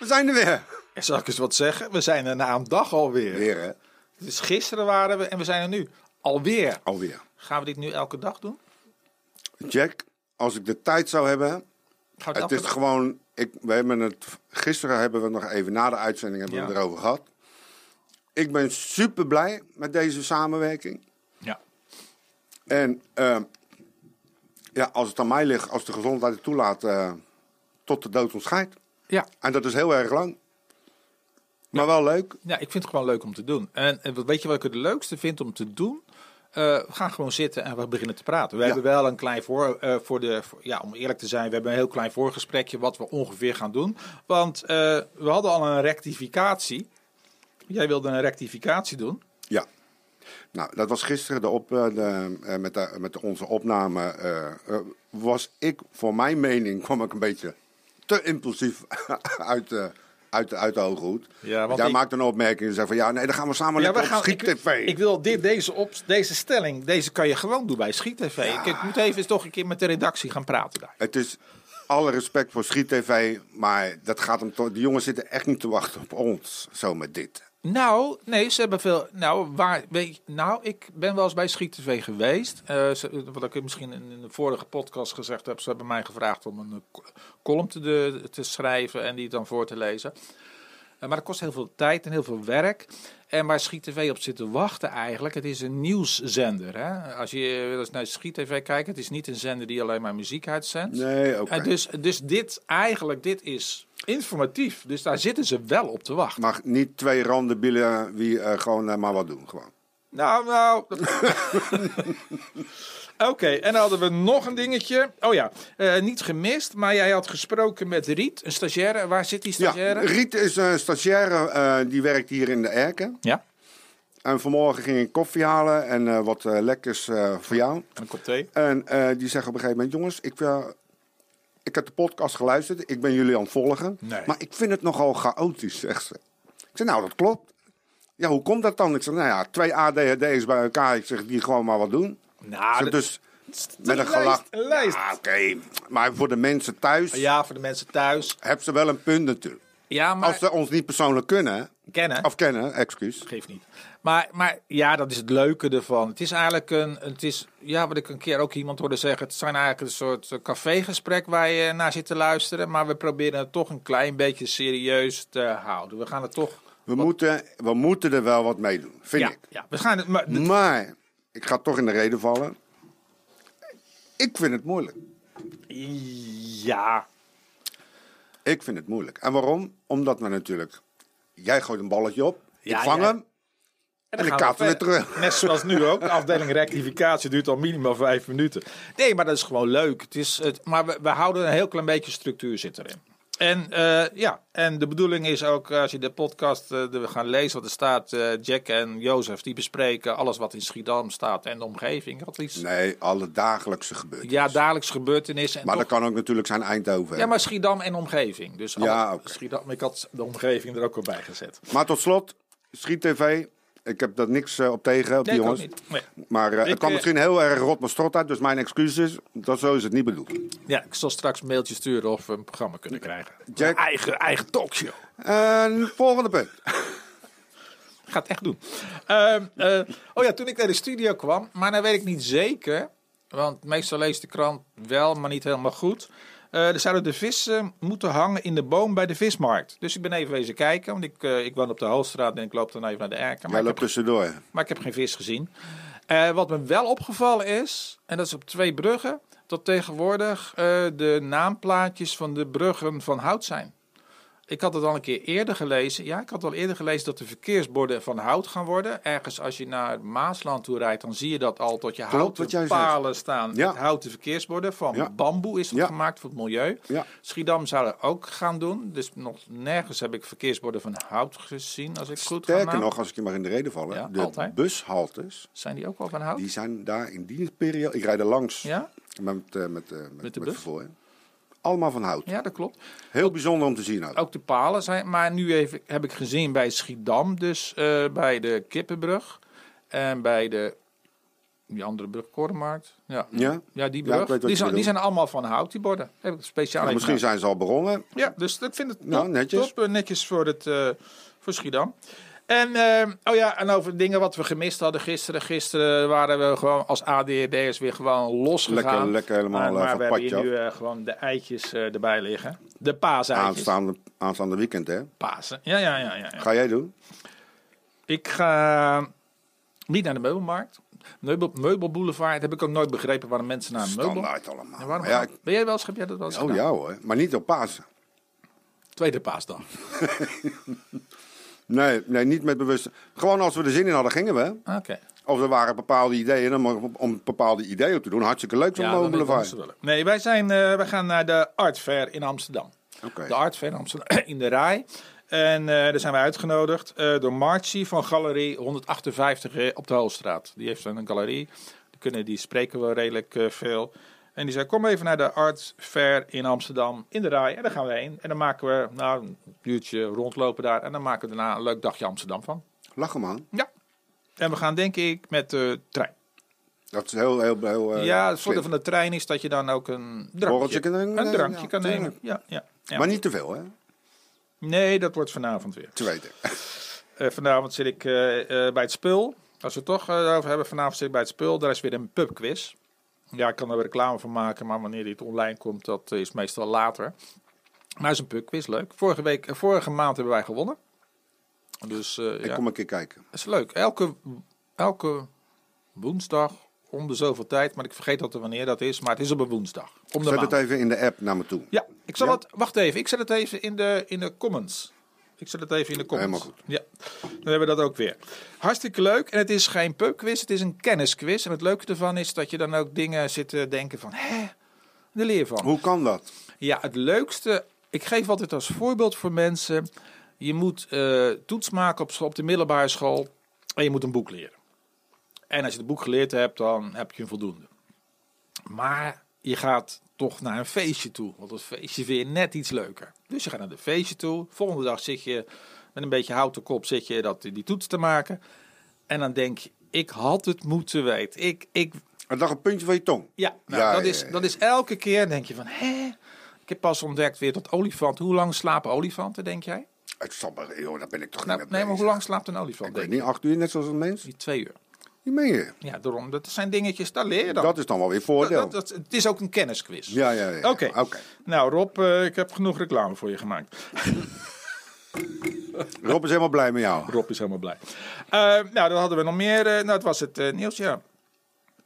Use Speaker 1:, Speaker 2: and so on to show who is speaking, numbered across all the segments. Speaker 1: zijn er weer.
Speaker 2: En zal ik eens wat zeggen? We zijn er na een dag alweer.
Speaker 1: Weer, hè?
Speaker 2: Dus gisteren waren we en we zijn er nu. Alweer.
Speaker 1: Alweer.
Speaker 2: Gaan we dit nu elke dag doen?
Speaker 1: Jack, als ik de tijd zou hebben,
Speaker 2: Gaan we
Speaker 1: Het
Speaker 2: elke
Speaker 1: is
Speaker 2: dag-
Speaker 1: gewoon, ik, we hebben het, gisteren hebben we nog even na de uitzending hebben we
Speaker 2: Ja.
Speaker 1: het erover gehad. Ik ben super blij met deze samenwerking.
Speaker 2: Ja.
Speaker 1: En ehm, ja, als het aan mij ligt, als de gezondheid het toelaat, eh, tot de dood ons scheidt.
Speaker 2: Ja.
Speaker 1: En dat is heel erg lang. Maar wel leuk.
Speaker 2: ja, ik vind het gewoon leuk om te doen. En, en weet je wat ik het leukste vind om te doen? Eh, we gaan gewoon zitten en we beginnen te praten. We
Speaker 1: Ja.
Speaker 2: hebben wel een klein voor, eh, voor de, voor- ja, om eerlijk te zijn, we hebben een heel klein voorgesprekje wat we ongeveer gaan doen. Want eh, we hadden al een rectificatie. Jij wilde een rectificatie doen.
Speaker 1: Ja. Nou, dat was gisteren de op, eh, de, eh, met, de, met onze opname. eh, eh, was ik, voor mijn mening, kwam ik een beetje te impulsief uit de, uit de, uit de hoge hoed.
Speaker 2: Ja, want
Speaker 1: Jij
Speaker 2: ik-
Speaker 1: maakte een opmerking en zei van ja, nee, dan gaan we samen lekker
Speaker 2: we
Speaker 1: op
Speaker 2: ik,
Speaker 1: Schiet-TV.
Speaker 2: ik wil dit, deze, op, deze stelling, deze kan je gewoon doen bij Schiet-TV. Ik, ik moet even toch een keer met de redactie gaan praten daar.
Speaker 1: Het is alle respect voor Schiet-TV, maar dat gaat hem toch. Die jongens zitten echt niet te wachten op ons, zo met dit.
Speaker 2: Nou, nee, ze hebben veel. Nou, waar, weet, je- nou ik ben wel eens bij Schiet TV geweest. Eh, ze- wat ik misschien in, in de vorige podcast gezegd heb. Ze hebben mij gevraagd om een eh, co- column te, de- te schrijven en die dan voor te lezen. Eh, maar dat kost heel veel tijd en heel veel werk. En waar Schiet TV op zit te wachten eigenlijk, het is een nieuwszender. Hè? Als je wel eens naar Schiet TV kijkt, het is niet een zender die alleen maar muziek uitzendt.
Speaker 1: Nee, oké.
Speaker 2: En dus, dus dit eigenlijk, dit is informatief. Dus daar zitten ze wel op te wachten.
Speaker 1: Mag niet twee randen bielen wie eh, gewoon eh, maar wat doen. Gewoon.
Speaker 2: Nou, nou. Oké, en dan hadden we nog een dingetje. Oh ja, eh, niet gemist, maar jij had gesproken met Riet, een stagiaire. Waar zit die
Speaker 1: Ja,
Speaker 2: stagiaire?
Speaker 1: Riet is een stagiaire, eh, die werkt hier in de Erken.
Speaker 2: Ja,
Speaker 1: En vanmorgen ging ik koffie halen en eh, wat eh, lekkers eh, voor jou.
Speaker 2: een kop thee.
Speaker 1: En eh, die zeggen op een gegeven moment: jongens, ik, eh, ik heb de podcast geluisterd, ik ben jullie aan het volgen.
Speaker 2: Nee.
Speaker 1: Maar ik vind het nogal chaotisch, zegt ze. Ik zeg: nou, dat klopt. Ja, hoe komt dat dan? Ik zeg: nou ja, twee ADHD'ers bij elkaar, ik zeg, die gewoon maar wat doen. Ik
Speaker 2: Nou,
Speaker 1: zeg,
Speaker 2: dat-
Speaker 1: dus
Speaker 2: een
Speaker 1: met een
Speaker 2: lijst,
Speaker 1: gelach.
Speaker 2: een lijst.
Speaker 1: Ja, oké. Maar voor de mensen thuis
Speaker 2: ja, voor de mensen thuis.
Speaker 1: hebben ze wel een punt natuurlijk.
Speaker 2: Ja, maar
Speaker 1: Als ze ons niet persoonlijk kunnen,
Speaker 2: kennen.
Speaker 1: of kennen, excuus.
Speaker 2: Geeft niet. Maar, maar ja, dat is het leuke ervan. Het is eigenlijk een. Het is, ja, wat ik een keer ook iemand hoorde zeggen. Het zijn eigenlijk een soort eh, cafégesprek waar je naar zit te luisteren. Maar we proberen het toch een klein beetje serieus te houden. We gaan het toch.
Speaker 1: We moeten, we moeten er wel wat mee doen, vind
Speaker 2: Ja,
Speaker 1: ik.
Speaker 2: ja, we gaan het. Maar,
Speaker 1: Maar, ik ga toch in de reden vallen. Ik vind het moeilijk.
Speaker 2: Ja.
Speaker 1: Ik vind het moeilijk. En waarom? Omdat we natuurlijk... Jij gooit een balletje op,
Speaker 2: Ja,
Speaker 1: ik vang
Speaker 2: ja.
Speaker 1: hem. En ik kaat hem weer terug.
Speaker 2: Net zoals nu ook. De afdeling rectificatie duurt al minimaal vijf minuten. Nee, maar dat is gewoon leuk. Het is, het, maar we, we houden een heel klein beetje structuur zit erin. En eh, ja, en de bedoeling is ook, als je de podcast eh, de- we gaan lezen wat er staat, eh, Jack en Jozef, die bespreken alles wat in Schiedam staat en de omgeving. Dat is,
Speaker 1: Nee, alle dagelijkse gebeurt.
Speaker 2: ja, dagelijks gebeurtenissen. En
Speaker 1: maar
Speaker 2: toch-
Speaker 1: dat kan ook natuurlijk zijn Eindhoven.
Speaker 2: ja, maar Schiedam en omgeving. Dus
Speaker 1: Ja,
Speaker 2: alle-
Speaker 1: oké.
Speaker 2: Schiedam, ik had de omgeving er ook wel bij gezet.
Speaker 1: Maar tot slot, Schiet TV. Ik heb daar niks eh, op tegen, op
Speaker 2: Nee,
Speaker 1: die
Speaker 2: ik ook
Speaker 1: jongens.
Speaker 2: niet. Nee.
Speaker 1: Maar eh,
Speaker 2: Ik,
Speaker 1: het kan
Speaker 2: eh,
Speaker 1: misschien heel erg rot maar strot uit, dus mijn excuses. Dat zo is het niet bedoeld.
Speaker 2: Ja, ik zal straks een mailtje sturen of we een programma kunnen krijgen.
Speaker 1: Jack-
Speaker 2: Een Eigen, eigen talkshow.
Speaker 1: En volgende punt.
Speaker 2: Ik ga het echt doen. Ehm, eh, oh ja, toen ik naar de studio kwam, maar dan weet ik niet zeker. Want meestal leest de krant wel, maar niet helemaal goed. Eh, er zouden de vissen moeten hangen in de boom bij de vismarkt. Dus ik ben even wezen kijken, want ik, eh, ik woon op de Hoofdstraat en ik loop dan even naar de
Speaker 1: Jij
Speaker 2: Erken. Maar ik heb
Speaker 1: loopt tussendoor.
Speaker 2: maar ik heb geen vis gezien. Eh, wat me wel opgevallen is, en dat is op twee bruggen, dat tegenwoordig eh, de naamplaatjes van de bruggen van hout zijn. Ik had het al een keer eerder gelezen. Ja, ik had al eerder gelezen dat de verkeersborden van hout gaan worden. Ergens als je naar Maasland toe rijdt, dan zie je dat al. Dat je
Speaker 1: wat
Speaker 2: houten
Speaker 1: jij
Speaker 2: palen staan.
Speaker 1: Ja.
Speaker 2: Met houten verkeersborden. Van
Speaker 1: Ja.
Speaker 2: bamboe is dat
Speaker 1: Ja.
Speaker 2: gemaakt voor het milieu.
Speaker 1: Ja.
Speaker 2: Schiedam zou dat ook gaan doen. Dus nog nergens heb ik verkeersborden van hout gezien. Als ik goed ga
Speaker 1: Sterker
Speaker 2: na-
Speaker 1: nog, als ik je maar in de reden val, hè,
Speaker 2: Ja,
Speaker 1: de
Speaker 2: altijd.
Speaker 1: bushaltes,
Speaker 2: Zijn die ook al van hout?
Speaker 1: die zijn daar in die periode, ik rijd er langs
Speaker 2: Ja?
Speaker 1: met, eh, met, eh, met,
Speaker 2: Met
Speaker 1: met,
Speaker 2: de bus?
Speaker 1: vervoer, hè. allemaal van hout.
Speaker 2: Ja, dat klopt.
Speaker 1: Heel bijzonder om te zien ook.
Speaker 2: Ook de palen zijn. Maar nu even, heb ik gezien bij Schiedam, dus eh, bij de Kippenbrug en bij de Die andere brug, Korenmarkt. Ja,
Speaker 1: Ja? Nou,
Speaker 2: ja die
Speaker 1: Ja, ik
Speaker 2: brug.
Speaker 1: weet wat
Speaker 2: die,
Speaker 1: je
Speaker 2: zijn, die
Speaker 1: bedoelt.
Speaker 2: zijn allemaal van hout, die borden. Heb ik speciaal
Speaker 1: Nou,
Speaker 2: even
Speaker 1: misschien zijn ze al begonnen.
Speaker 2: ja, dus ik vind het
Speaker 1: Nou,
Speaker 2: top,
Speaker 1: netjes.
Speaker 2: top, eh, netjes voor, het, eh, voor Schiedam. En, eh, oh ja, en over dingen wat we gemist hadden gisteren. Gisteren waren we gewoon als ADHD'ers weer gewoon losgegaan.
Speaker 1: Lekker, lekker helemaal
Speaker 2: maar,
Speaker 1: eh,
Speaker 2: maar
Speaker 1: van
Speaker 2: we
Speaker 1: het
Speaker 2: hebben
Speaker 1: padje
Speaker 2: hier
Speaker 1: af.
Speaker 2: nu eh, gewoon de eitjes eh, erbij liggen. De paaseitjes.
Speaker 1: Aanstaande, aanstaande weekend, hè?
Speaker 2: Pasen. Ja, ja, ja, ja, ja.
Speaker 1: Ga jij doen?
Speaker 2: Ik ga niet naar de meubelmarkt. Meubel, meubelboulevard heb ik ook nooit begrepen waarom mensen naar een meubel...
Speaker 1: Standaard allemaal.
Speaker 2: Ja, waarom,
Speaker 1: Maar ja, ik-
Speaker 2: ben jij wel eens, heb jij dat wel eens
Speaker 1: oh
Speaker 2: gedaan?
Speaker 1: ja hoor, maar niet op Pasen.
Speaker 2: Tweede paasdag.
Speaker 1: Nee, nee, niet met bewust. Gewoon als we er zin in hadden, gingen we.
Speaker 2: Oké.
Speaker 1: Of er waren bepaalde ideeën en om, om bepaalde ideeën te doen. Hartstikke leuk zo'n
Speaker 2: Ja,
Speaker 1: ja,
Speaker 2: dan- dan is het wel leuk. Nee, wij, zijn, eh, wij gaan naar de Art Fair in Amsterdam.
Speaker 1: Oké.
Speaker 2: De Art Fair in Amsterdam, in de Rai. En eh, daar zijn wij uitgenodigd eh, door Marci van Galerie 158 eh, op de Hoogstraat. Die heeft een galerie. Die, kunnen, die spreken we redelijk eh, veel. En die zei, kom even naar de Art Fair in Amsterdam in de Rai. En daar gaan we heen. En dan maken we nou, een uurtje rondlopen daar. En dan maken we daarna een leuk dagje Amsterdam van.
Speaker 1: Lachen man.
Speaker 2: Ja. En we gaan denk ik met de trein.
Speaker 1: Dat is heel, heel, heel eh,
Speaker 2: Ja, het voordeel
Speaker 1: slim.
Speaker 2: van de trein is dat je dan ook een
Speaker 1: Borreltje
Speaker 2: drankje,
Speaker 1: kan nemen,
Speaker 2: een
Speaker 1: ja,
Speaker 2: drankje
Speaker 1: ja,
Speaker 2: kan nemen.
Speaker 1: tuurlijk.
Speaker 2: Ja, ja, ja.
Speaker 1: Maar niet te veel, hè?
Speaker 2: Nee, dat wordt vanavond weer.
Speaker 1: Tweede.
Speaker 2: Eh, vanavond zit ik eh, eh, bij het spul. Als we het toch eh, over hebben, vanavond zit ik bij het spul. Daar is weer een pubquiz. Ja, ik kan er reclame van maken, maar wanneer dit online komt, dat is meestal later. Maar het is een pubquiz, leuk. Vorige, week, eh, vorige maand hebben wij gewonnen. Dus eh,
Speaker 1: Ik
Speaker 2: ja,
Speaker 1: kom een keer kijken.
Speaker 2: dat is leuk. Elke, elke woensdag om de zoveel tijd, maar ik vergeet altijd wanneer dat is. Maar het is op een woensdag. Om de
Speaker 1: Zet
Speaker 2: maand.
Speaker 1: het even in de app naar me toe.
Speaker 2: Ja, ik zal
Speaker 1: Ja?
Speaker 2: het. Wacht even, ik zet het even in de, in de comments. Ik zet het even in de comments.
Speaker 1: Helemaal
Speaker 2: Ja, dan hebben we dat ook weer. Hartstikke leuk. En het is geen pubquiz, het is een kennisquiz. En het leuke ervan is dat je dan ook dingen zit te denken van, hè, de leer van.
Speaker 1: Hoe kan dat?
Speaker 2: Ja, het leukste. Ik geef altijd als voorbeeld voor mensen. Je moet eh, toets maken op, school- op de middelbare school. En je moet een boek leren. En als je het boek geleerd hebt, dan heb je een voldoende. Maar je gaat toch naar een feestje toe. Want dat feestje vind je net iets leuker. Dus je gaat naar een feestje toe. Volgende dag zit je met een beetje houten kop zit je dat, die toets te maken. En dan denk je, ik had het moeten weten. Ik, ik,
Speaker 1: Het lag een puntje van je tong.
Speaker 2: ja, nou,
Speaker 1: Ja,
Speaker 2: dat,
Speaker 1: ja,
Speaker 2: is,
Speaker 1: ja.
Speaker 2: dat is elke keer denk je van, hè? Ik heb pas ontdekt weer dat olifant. Hoe lang slapen olifanten, denk jij?
Speaker 1: Het zal maar, joh, daar ben ik toch
Speaker 2: Nou,
Speaker 1: niet mee
Speaker 2: nee, maar hoe lang slaapt een olifant?
Speaker 1: Ik weet
Speaker 2: Denk je?
Speaker 1: niet, acht uur, net zoals een mens?
Speaker 2: Die twee uur.
Speaker 1: Die meen je.
Speaker 2: Ja, daarom. Dat zijn dingetjes, daar leer je dan.
Speaker 1: Dat is dan wel weer voordeel.
Speaker 2: Dat- dat- het is ook een kennisquiz.
Speaker 1: Ja, ja, ja.
Speaker 2: Oké. Nou, Rob, eh, ik heb genoeg reclame voor je gemaakt.
Speaker 1: Rob is helemaal blij met jou.
Speaker 2: Rob is helemaal blij. Eh, nou, dan hadden we nog meer. eh, nou, het was het eh, nieuws, ja.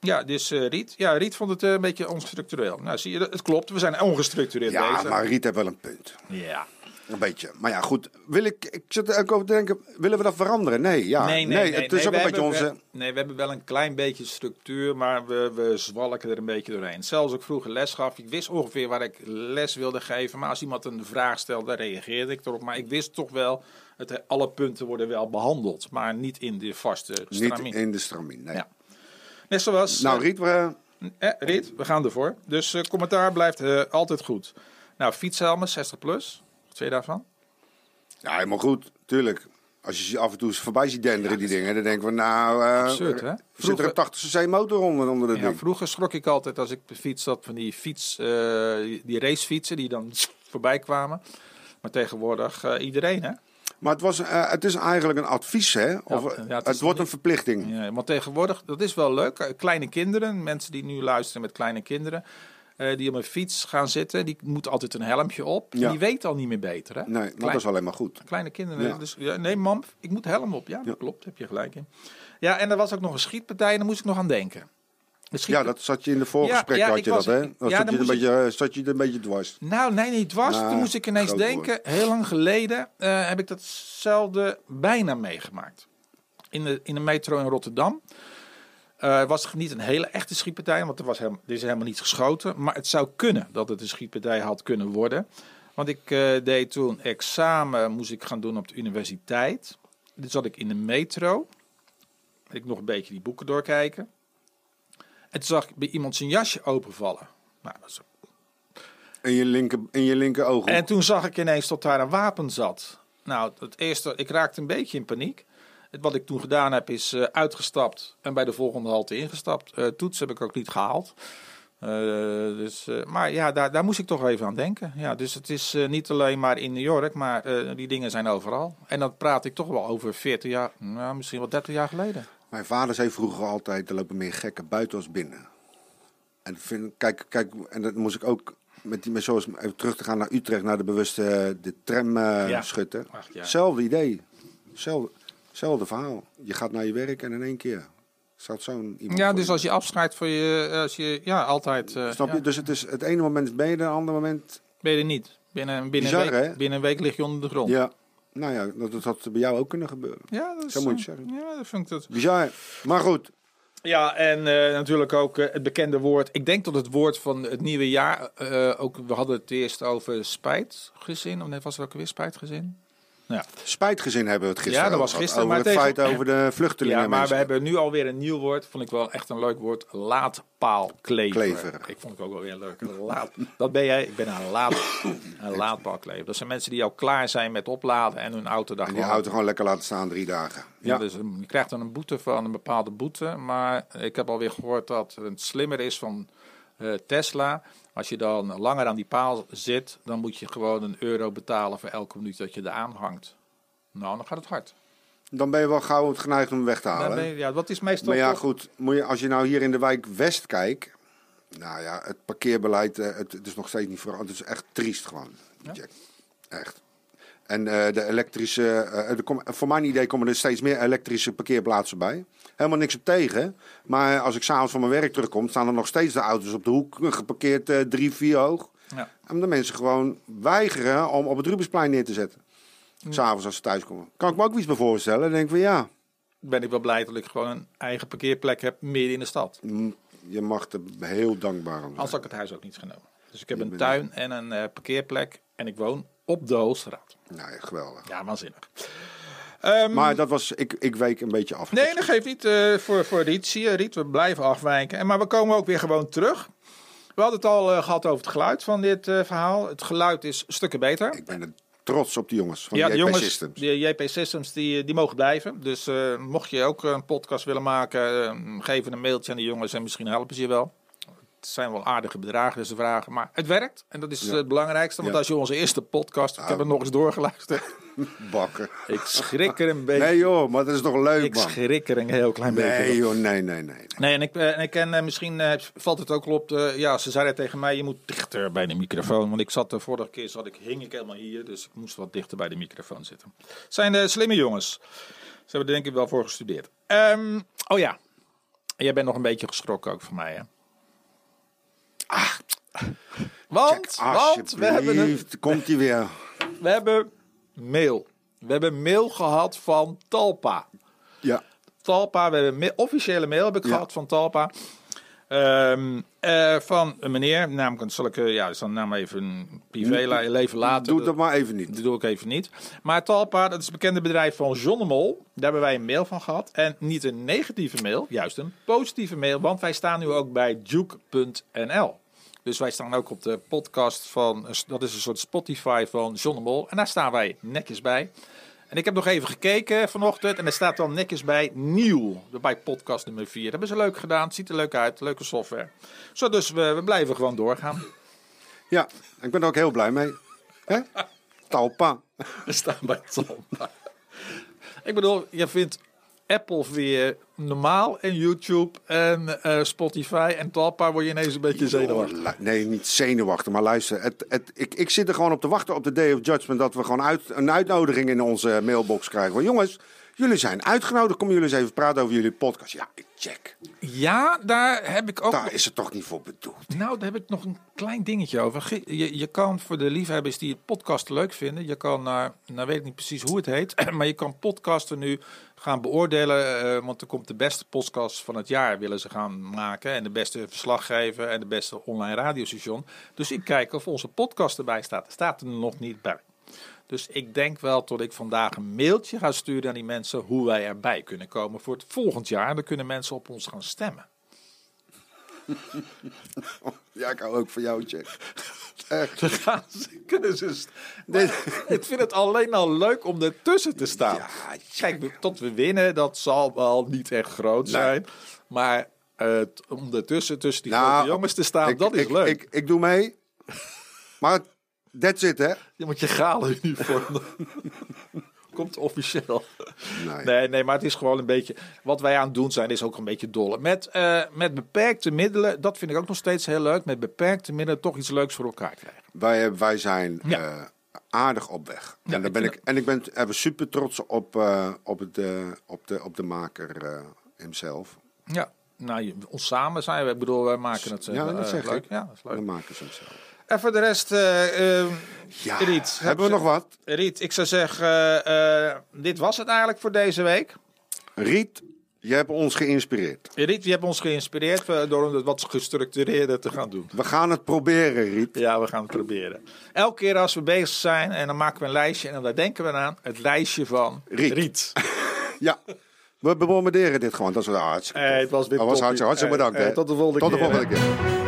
Speaker 2: Ja, dus eh, Riet. Ja, Riet vond het eh, een beetje onstructureel. Nou, zie je, het klopt. We zijn ongestructureerd
Speaker 1: Ja,
Speaker 2: bezig.
Speaker 1: maar Riet heeft wel een punt.
Speaker 2: Ja.
Speaker 1: Een beetje. Maar ja, goed. Wil ik, ik zit er ook over te denken, willen we dat veranderen? Ah, Nee, ja.
Speaker 2: Nee, nee, nee,
Speaker 1: het is ook
Speaker 2: nee, we
Speaker 1: een beetje
Speaker 2: hebben
Speaker 1: onze...
Speaker 2: wel- nee, we hebben wel een klein beetje structuur, maar we, we zwalken er een beetje doorheen. Zelfs als ik vroeger les gaf, ik wist ongeveer waar ik les wilde geven. Maar als iemand een vraag stelde, reageerde ik erop. Maar ik wist toch wel, het, alle punten worden wel behandeld, maar niet in de vaste stramien.
Speaker 1: Niet in de stramien, nee.
Speaker 2: Ja. Net zoals...
Speaker 1: Nou,
Speaker 2: eh,
Speaker 1: Riet, we,
Speaker 2: eh, Rit, we gaan ervoor. Dus eh, commentaar blijft eh, altijd goed. Nou, fietshelmen, 60 plus. Wat vind je daarvan?
Speaker 1: ja, helemaal goed, tuurlijk. Als je ze af en toe eens voorbij ziet denderen, die dingen, dan denken we, nou... eh,
Speaker 2: Absurd, hè?
Speaker 1: Zit er
Speaker 2: Vroeger-
Speaker 1: een 80 cc motor onder, onder de
Speaker 2: Ja,
Speaker 1: ding?
Speaker 2: vroeger schrok ik altijd als ik op de fiets zat van die fiets, eh, die racefietsen die dan voorbij kwamen. Maar tegenwoordig eh, iedereen, hè?
Speaker 1: Maar het, was, eh, het is eigenlijk een advies, hè? Of, eh,
Speaker 2: ja, het
Speaker 1: het
Speaker 2: is
Speaker 1: wordt
Speaker 2: niet-
Speaker 1: een verplichting.
Speaker 2: Ja, want tegenwoordig, dat is wel leuk. eh, Kleine kinderen, mensen die nu luisteren met kleine kinderen, eh, die op een fiets gaan zitten, die moeten altijd een helmpje op.
Speaker 1: Ja.
Speaker 2: Die weten al niet meer beter, hè?
Speaker 1: Nee, maar
Speaker 2: Klein-
Speaker 1: dat is alleen maar goed.
Speaker 2: Kleine kinderen.
Speaker 1: Ja.
Speaker 2: Dus, ja, nee, mam, ik moet helm op. Ja, dat
Speaker 1: Ja.
Speaker 2: klopt, heb je gelijk in. Ja, en er was ook nog een schietpartij, en daar moest ik nog aan denken. De schiet-
Speaker 1: Ja, dat zat je in de voorgesprek,
Speaker 2: Ja, ja,
Speaker 1: had
Speaker 2: ik
Speaker 1: je
Speaker 2: was-
Speaker 1: dat, hè?
Speaker 2: ja,
Speaker 1: Dan
Speaker 2: dan
Speaker 1: zat, je er een
Speaker 2: moest ik-
Speaker 1: beetje, eh, zat je er een beetje dwars.
Speaker 2: Nou, nee, niet dwars.
Speaker 1: Nou,
Speaker 2: Toen moest ik ineens
Speaker 1: groot
Speaker 2: denken, heel lang geleden eh, heb ik datzelfde bijna meegemaakt. In de, in de metro in Rotterdam. Eh was het niet een hele echte schietpartij, want er, was helemaal, er is helemaal niet geschoten. Maar het zou kunnen dat het een schietpartij had kunnen worden. Want ik eh, deed toen examen, moest ik gaan doen op de universiteit. Dus zat ik in de metro. Ik nog een beetje die boeken doorkijken. En toen zag ik bij iemand zijn jasje openvallen. Nou, dat is
Speaker 1: In je linker, in je linker oog.
Speaker 2: en toen zag ik ineens dat daar een wapen zat. Nou, het eerste, ik raakte een beetje in paniek. Wat ik toen gedaan heb is eh, uitgestapt en bij de volgende halte ingestapt. Eh, toets heb ik ook niet gehaald. Eh, dus, eh, maar ja, daar, daar moest ik toch even aan denken. Ja, dus het is eh, niet alleen maar in New York, maar eh, die dingen zijn overal. En dan praat ik toch wel over 40 jaar, nou, misschien wel 30 jaar geleden.
Speaker 1: Mijn vader zei vroeger altijd, er lopen meer gekken buiten als binnen. En, dat vind, ik- kijk, kijk, en dat moest ik ook, met die, met zoals even terug te gaan naar Utrecht, naar de bewuste eh, de tram eh,
Speaker 2: Ja.
Speaker 1: schutten.
Speaker 2: Ach, ja.
Speaker 1: Hetzelfde idee. Hetzelfde, hetzelfde verhaal. Je gaat naar je werk en in één keer staat zo'n iemand
Speaker 2: Ja,
Speaker 1: voor
Speaker 2: dus
Speaker 1: je.
Speaker 2: als je afscheidt van je, eh, als je, ja, altijd. eh,
Speaker 1: Snap je?
Speaker 2: ja.
Speaker 1: Dus het is het ene moment ben je er, het andere moment...
Speaker 2: Ben je er niet. Binnen, binnen,
Speaker 1: Bizar,
Speaker 2: een week,
Speaker 1: hè?
Speaker 2: binnen een week lig je onder de grond.
Speaker 1: Ja, nou ja, dat, dat had bij jou ook kunnen gebeuren.
Speaker 2: Ja, dat is,
Speaker 1: Zo moet je
Speaker 2: eh,
Speaker 1: zeggen.
Speaker 2: Ja, dat vind ik dat.
Speaker 1: Bizar. Maar goed,
Speaker 2: Ja, en eh, natuurlijk ook eh, het bekende woord. Ik denk dat het woord van het nieuwe jaar. eh, ook, we hadden het eerst over spijtgezin. Of nee, was er ook weer spijtgezin? Nou
Speaker 1: spijtgezin hebben we het gisteren
Speaker 2: Ja, dat was
Speaker 1: over gehad,
Speaker 2: gisteren,
Speaker 1: Over
Speaker 2: maar
Speaker 1: het
Speaker 2: tegen-
Speaker 1: feit over de vluchtelingen.
Speaker 2: Ja, maar we
Speaker 1: mensen.
Speaker 2: hebben nu alweer een nieuw woord. Vond ik wel echt een leuk woord. Laadpaalklever.
Speaker 1: Klever.
Speaker 2: Ik vond het ook wel weer leuk. Een Laad, dat ben jij. Ik ben een, laad, een laadpaalklever. Dat zijn mensen die al klaar zijn met opladen en hun auto daar
Speaker 1: En die
Speaker 2: gewoon-
Speaker 1: auto gewoon lekker laten staan drie dagen.
Speaker 2: Ja. dus um, je krijgt dan een boete van een bepaalde boete. Maar ik heb alweer gehoord dat het slimmer is van eh, Tesla. Als je dan langer aan die paal zit, dan moet je gewoon een euro betalen voor elke minuut dat je er aanhangt. Nou, dan gaat het hard.
Speaker 1: Dan ben je wel gauw het geneigd om hem weg te
Speaker 2: Dan
Speaker 1: halen.
Speaker 2: ben je- ja, wat is meestal.
Speaker 1: maar ja,
Speaker 2: toch-
Speaker 1: goed, moet je, als je nou hier in de wijk West kijkt. Nou ja, het parkeerbeleid, eh, het, het is nog steeds niet veranderd. Het is echt triest gewoon, Jack. Echt. En eh, de elektrische, eh, er kom- voor mijn idee komen er steeds meer elektrische parkeerplaatsen bij. Helemaal niks op tegen. Maar als ik s'avonds van mijn werk terugkom, staan er nog steeds de auto's op de hoek eh, geparkeerd eh, drie, vier hoog.
Speaker 2: Ja.
Speaker 1: Omdat mensen gewoon weigeren om op het Rubensplein neer te zetten. S'avonds als ze thuiskomen. Kan ik me ook iets bij voorstellen. Dan denk ik van ja,
Speaker 2: Ben ik wel blij dat ik gewoon een eigen parkeerplek heb midden in de stad.
Speaker 1: m- je mag er heel dankbaar om zijn.
Speaker 2: Anders had ik het huis ook niet genomen. Dus ik heb een tuin en een eh, parkeerplek en ik woon op de Hoogstraat.
Speaker 1: Nou ja, geweldig.
Speaker 2: Ja, waanzinnig. Ehm,
Speaker 1: Maar dat was, ik, ik week een beetje af.
Speaker 2: Nee, dat geeft niet eh, voor, voor Riet. Zie je, Riet, we blijven afwijken. En, maar we komen ook weer gewoon terug. We hadden het al eh, gehad over het geluid van dit eh, verhaal. Het geluid is stukken beter.
Speaker 1: Ik ben er trots op die jongens van
Speaker 2: ja,
Speaker 1: die
Speaker 2: de
Speaker 1: JP
Speaker 2: jongens,
Speaker 1: Systems.
Speaker 2: de JP Systems, die, die mogen blijven. Dus eh, mocht je ook een podcast willen maken, eh, geef een mailtje aan de jongens en misschien helpen ze je wel. Het zijn wel aardige bedragen, dus ze vragen. Maar het werkt en dat is eh, het belangrijkste. Want
Speaker 1: Ja. Ah.
Speaker 2: als je onze eerste podcast, ik heb het nog eens doorgeluisterd.
Speaker 1: Bakken.
Speaker 2: ik schrik er een beetje.
Speaker 1: Nee joh, maar dat is toch leuk
Speaker 2: ik
Speaker 1: man.
Speaker 2: schrik er een heel klein beetje. van.
Speaker 1: Nee joh, nee, nee, nee. nee.
Speaker 2: Nee, en ik, eh, en ik ken eh, misschien eh, valt het ook wel op. eh, ja, ze zeiden tegen mij: je moet dichter bij de microfoon. Want ik zat de vorige keer zat ik, hing ik helemaal hier, dus ik moest wat dichter bij de microfoon zitten. Het Zijn eh, slimme jongens. Ze hebben er denk ik wel voor gestudeerd. Ehm, oh ja, jij bent nog een beetje geschrokken ook van mij, hè? want, want we hebben een
Speaker 1: Alsjeblieft, komt hij weer.
Speaker 2: we hebben mail. We hebben mail gehad van Talpa.
Speaker 1: Ja,
Speaker 2: Talpa, we hebben me- officiële mail heb ik
Speaker 1: Ja.
Speaker 2: gehad van Talpa. Ehm, eh, van een meneer, namelijk een zulke, ja, dus dan naam even een privé la- leven later.
Speaker 1: doe dat maar even niet.
Speaker 2: Dat doe ik even niet. Maar Talpa, dat is het bekende bedrijf van John de Mol. Daar hebben wij een mail van gehad. En niet een negatieve mail, juist een positieve mail. Want wij staan nu ook bij Duke.nl. Dus wij staan ook op de podcast van, dat is een soort Spotify van John de Mol. En daar staan wij netjes bij. En ik heb nog even gekeken vanochtend. En er staat dan netjes bij nieuw. Bij podcast nummer 4. Dat hebben ze leuk gedaan. Het ziet er leuk uit. Leuke software. Zo, dus we, we blijven gewoon doorgaan.
Speaker 1: Ja, ik ben er ook heel blij mee. Hè? Talpa.
Speaker 2: We staan bij Talpa. Ik bedoel, je vindt Apple weer normaal en YouTube en eh, Spotify en Talpa word je ineens een beetje zenuwachtig.
Speaker 1: Lu- Nee, niet zenuwachtig, maar luister. Het, het, ik, ik zit er gewoon op te wachten op de Day of Judgment. Dat we gewoon uit, een uitnodiging in onze mailbox krijgen. Van jongens, jullie zijn uitgenodigd. Kom jullie eens even praten over jullie podcast. Ja, ik check.
Speaker 2: Ja, daar heb ik ook.
Speaker 1: Daar is het toch niet voor bedoeld.
Speaker 2: Nou, daar heb ik nog een klein dingetje over. Ge- Je, je kan voor de liefhebbers die het podcast leuk vinden, je kan naar, nou weet ik niet precies hoe het heet, maar je kan podcasten nu gaan beoordelen, eh, want er komt de beste podcast van het jaar willen ze gaan maken en de beste verslaggever en de beste online radiostation. Dus ik kijk of onze podcast erbij staat. Er staat er nog niet bij. Dus ik denk wel dat ik vandaag een mailtje ga sturen aan die mensen hoe wij erbij kunnen komen voor het volgend jaar. Dan kunnen mensen op ons gaan stemmen.
Speaker 1: Ja, ik hou ook van jou, Jack. Echt.
Speaker 2: Ze gaan zieken, dus is- Nee, ik vind het alleen al leuk om ertussen te staan.
Speaker 1: Ja,
Speaker 2: Kijk, we- tot we winnen, dat zal wel niet echt groot zijn. Maar eh, t- om ertussen, tussen die
Speaker 1: Nou,
Speaker 2: grote jongens te staan,
Speaker 1: ik,
Speaker 2: dat is
Speaker 1: ik,
Speaker 2: leuk.
Speaker 1: Ik, ik, doe mee. Maar that's it, hè?
Speaker 2: Je moet je gale uniform. Komt officieel.
Speaker 1: Nee.
Speaker 2: Nee, nee, maar het is gewoon een beetje. Wat wij aan het doen zijn, is ook een beetje dolle. Met, eh, met beperkte middelen, dat vind ik ook nog steeds heel leuk. Met beperkte middelen toch iets leuks voor elkaar krijgen.
Speaker 1: Wij, wij zijn
Speaker 2: Ja.
Speaker 1: eh, aardig op weg.
Speaker 2: Ja,
Speaker 1: en, daar
Speaker 2: ik
Speaker 1: ben
Speaker 2: vind
Speaker 1: ik, en ik ben er super trots op, eh, op, het, eh, op, de, op de maker eh hemzelf.
Speaker 2: Ja. Nou, je- ons samen zijn we. Ik bedoel, wij maken het eh,
Speaker 1: Ja, dat
Speaker 2: eh,
Speaker 1: zeg ik.
Speaker 2: leuk. Ja, dat is
Speaker 1: De
Speaker 2: leuk.
Speaker 1: makers hemzelf.
Speaker 2: En voor de rest, eh, eh,
Speaker 1: Ja,
Speaker 2: Riet,
Speaker 1: hebben we nog wat?
Speaker 2: Riet, ik zou zeggen, eh, eh, dit was het eigenlijk voor deze week.
Speaker 1: Riet, je hebt ons geïnspireerd.
Speaker 2: Riet, je hebt ons geïnspireerd eh, door het wat gestructureerder te gaan doen.
Speaker 1: We gaan het proberen, Riet.
Speaker 2: Ja, we gaan het proberen. Elke keer als we bezig zijn en dan maken we een lijstje en dan denken we aan het lijstje van
Speaker 1: Riet. Ja, we bombarderen dit gewoon. Dat is wel hartstikke
Speaker 2: Hey, het was weer
Speaker 1: Dat was
Speaker 2: toppie.
Speaker 1: hartstikke, hartstikke
Speaker 2: Hey,
Speaker 1: bedankt.
Speaker 2: hey,
Speaker 1: hè.
Speaker 2: Eh, tot de volgende
Speaker 1: Tot de
Speaker 2: keer, hè.
Speaker 1: volgende keer.